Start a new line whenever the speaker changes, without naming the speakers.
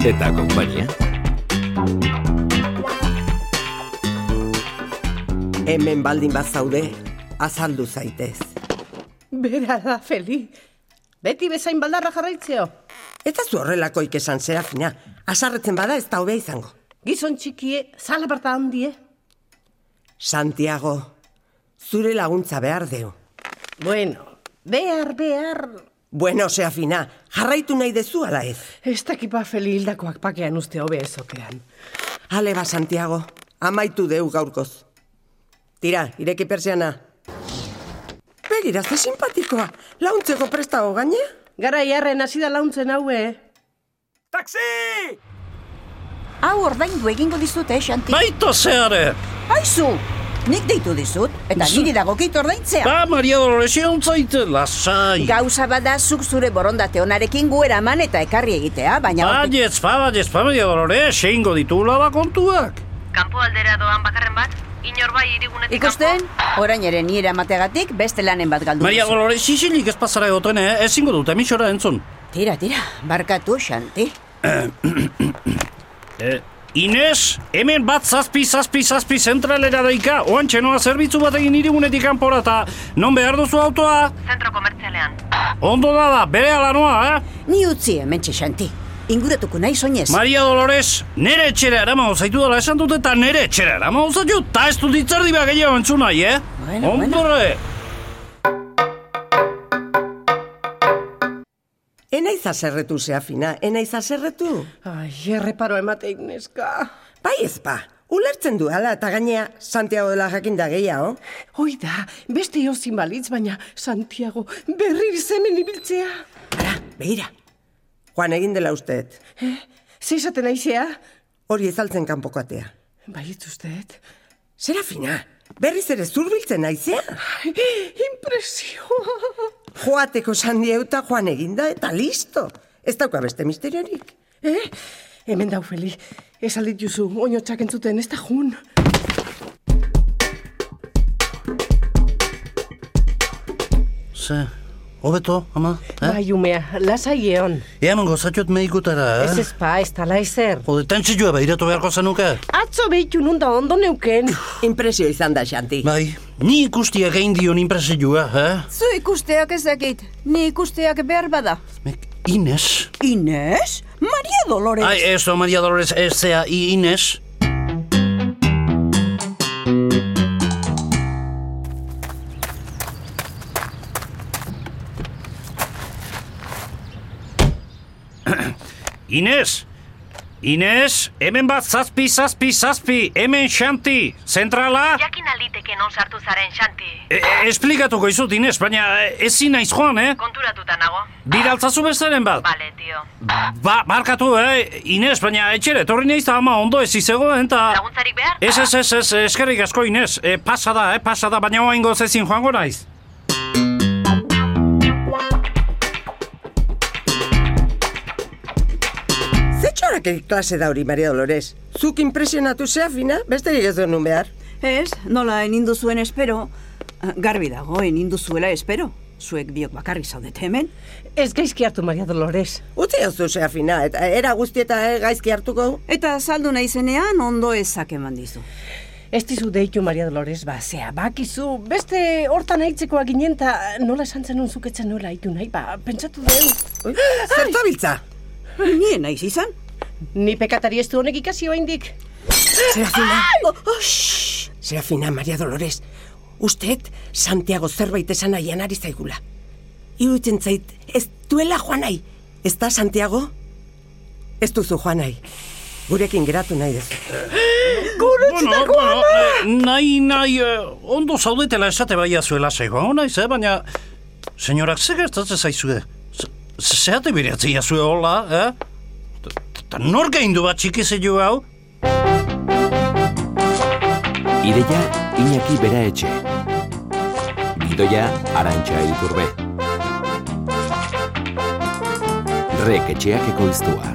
eta konpainia.
Hemen baldin bazaude, azaldu zaitez.
Bera da, Feli. Beti bezain baldarra jarraitzeo.
Ez da zu horrelako ikesan serafina, asarretzen bada ez da hobea izango.
Gizon txikie, zalabarta handie.
Santiago, zure laguntza behar deu.
Bueno, behar, behar...
Bueno, serafina, jarraitu nahi dezu ala ez.
Ez dakipa Feli hildakoak pakean uste hobe ezokean.
Ale ba, Santiago, amaitu deu gaurkoz. Tira, ireki persiana. Begira, ze simpatikoa, launtzeko prestago gainea?
Gara jarren hasi da launtzen eh? haue.
Taxi!
Hau ordaindu egingo dizut, eh, Xanti?
Baito zeare!
Aizu! Nik deitu dizut, eta niri dagokit ordaintzea.
Ba, Maria Dolores, zaite, lasai!
Gauza bada zuk zure borondate onarekin gu eraman eta ekarri egitea, baina... hortik-
Baietz, ba, baietz, ba, Maria Dolores, seingo ditula da kontuak.
Kanpo aldera doan bakarren bat, inor bai irigunetik
Ikusten, orain ere nire amategatik beste lanen bat galdu.
Maria
duzu.
Dolores, isilik ez pasara egoten, eh? ezingo dut, emisora entzun.
Tira, tira, barkatu, Xanti.
Eh, Ines, hemen bat zazpi, zazpi, zazpi zentralera daika, oan txenoa zerbitzu bat egin irigunetik kanpora eta non behar duzu autoa?
zentro komertzialean.
Ondo da da, bere alanoa, eh?
Ni utzi hemen Xanti. Inguratuko nahi soinez.
Maria Dolores, nere etxera eraman zaitu dela esan dut eta nere etxera eraman zaitu, eta ez dut itzardi behar gehiago entzun nahi, eh?
Bueno, bueno.
Ondore!
Enaiz azerretu, serafina, enaiz azerretu.
Ai, erreparo emateik neska.
Bai ez ba, ulertzen du ala eta gainea Santiago dela jakinda gehiago.
Hoi da, beste jozin balitz, baina Santiago berri izenen ibiltzea.
Ara, begira. Joan egin dela usteet,
Ze izaten aizea?
hori ezaltzen kanpoko atea.
Bai, usteet.
Serafina, berriz ere zurbiltzen naizea.
Impresioa.
Joateko sandieuta joan eginda eta listo. Ez dauka beste misteriorik.
Eh? Hemen dau, Feli. Ez aldit juzu, oino entzuten, ez da jun.
Ze, hobeto, ama, eh?
Bai, umea, lasai eon.
Ea mango zaitut medikutara, eh?
Ez ez pa, ez tala ezer.
Jode, tentsioa behiratu beharko zenuke?
Atzo behitu nunda ondo neuken.
Impresio izan da, Xanti.
Bai, ni ikustiak egin dion inpresioa, eh?
Zu ikusteak ez dakit, ni ikusteak behar bada.
Mek, Ines?
Ines? Maria Dolores?
Ai, ez, oh, Maria Dolores, ez zea, i- Ines? Ines! Ines, hemen bat zazpi, zazpi, zazpi, hemen xanti, zentrala?
Jakin alditeke non sartu zaren Xanti.
E, e, esplikatuko izut, Ines, baina e, ezin naiz joan, eh?
Konturatuta nago.
Bidaltzazu besteren bat.
Bale, tio.
Ba, markatu, eh, Ines, baina etxera, etorri nahiz da ama ondo ez izegoen, eta...
Laguntzarik behar? Ah.
Ez, ez, ez, ez, eskerrik asko Ines, e, pasa da, eh, pasa da, baina oain gozezin joango naiz.
Ze txorakerik klase da hori, Maria Dolores? Zuk impresionatu serafina, besterik ez denun behar.
Ez, nola enindu zuen espero. Ah, Garbi dago, enindu zuela espero. Zuek biok bakarrik zaudete hemen.
Ez gaizki hartu, Maria Dolores.
Utzi hauzu serafina, eta era guztieta eh, gaizki hartuko.
Eta saldu nahi zenean ondo ezak eman dizu.
Ez dizu deitu, Maria Dolores, ba, zea, bakizu, beste hortan aitzekoa ginen, ta nola esan zenun zuketzen nola aitu nahi, ba, pentsatu deu.
Zerta biltza?
Nien naiz izan.
Ni pekatari ez du honek ikasi oraindik. Oh,
Serafina. Serafina, Maria Dolores. Usteet, Santiago zerbait esan nahian ari zaigula. Iruditzen zait, ez duela joan nahi. Ez da, Santiago? Ez duzu joan nahi. Gurekin geratu nahi dezu.
Bueno, bueno, eh, nahi, nahi, eh, ondo zaudetela esate baia zuela zegoen, naiz, eh, baina... Senyorak, ze gertatzen zaizue? Ze- ze- Zeate biretzia zue hola, eh? Eta nor gaindu bat txiki zeilu hau?
Ideia Iñaki Bera Etxe. Gidoia Arantxa Iturbe. Rek etxeak ekoiztua.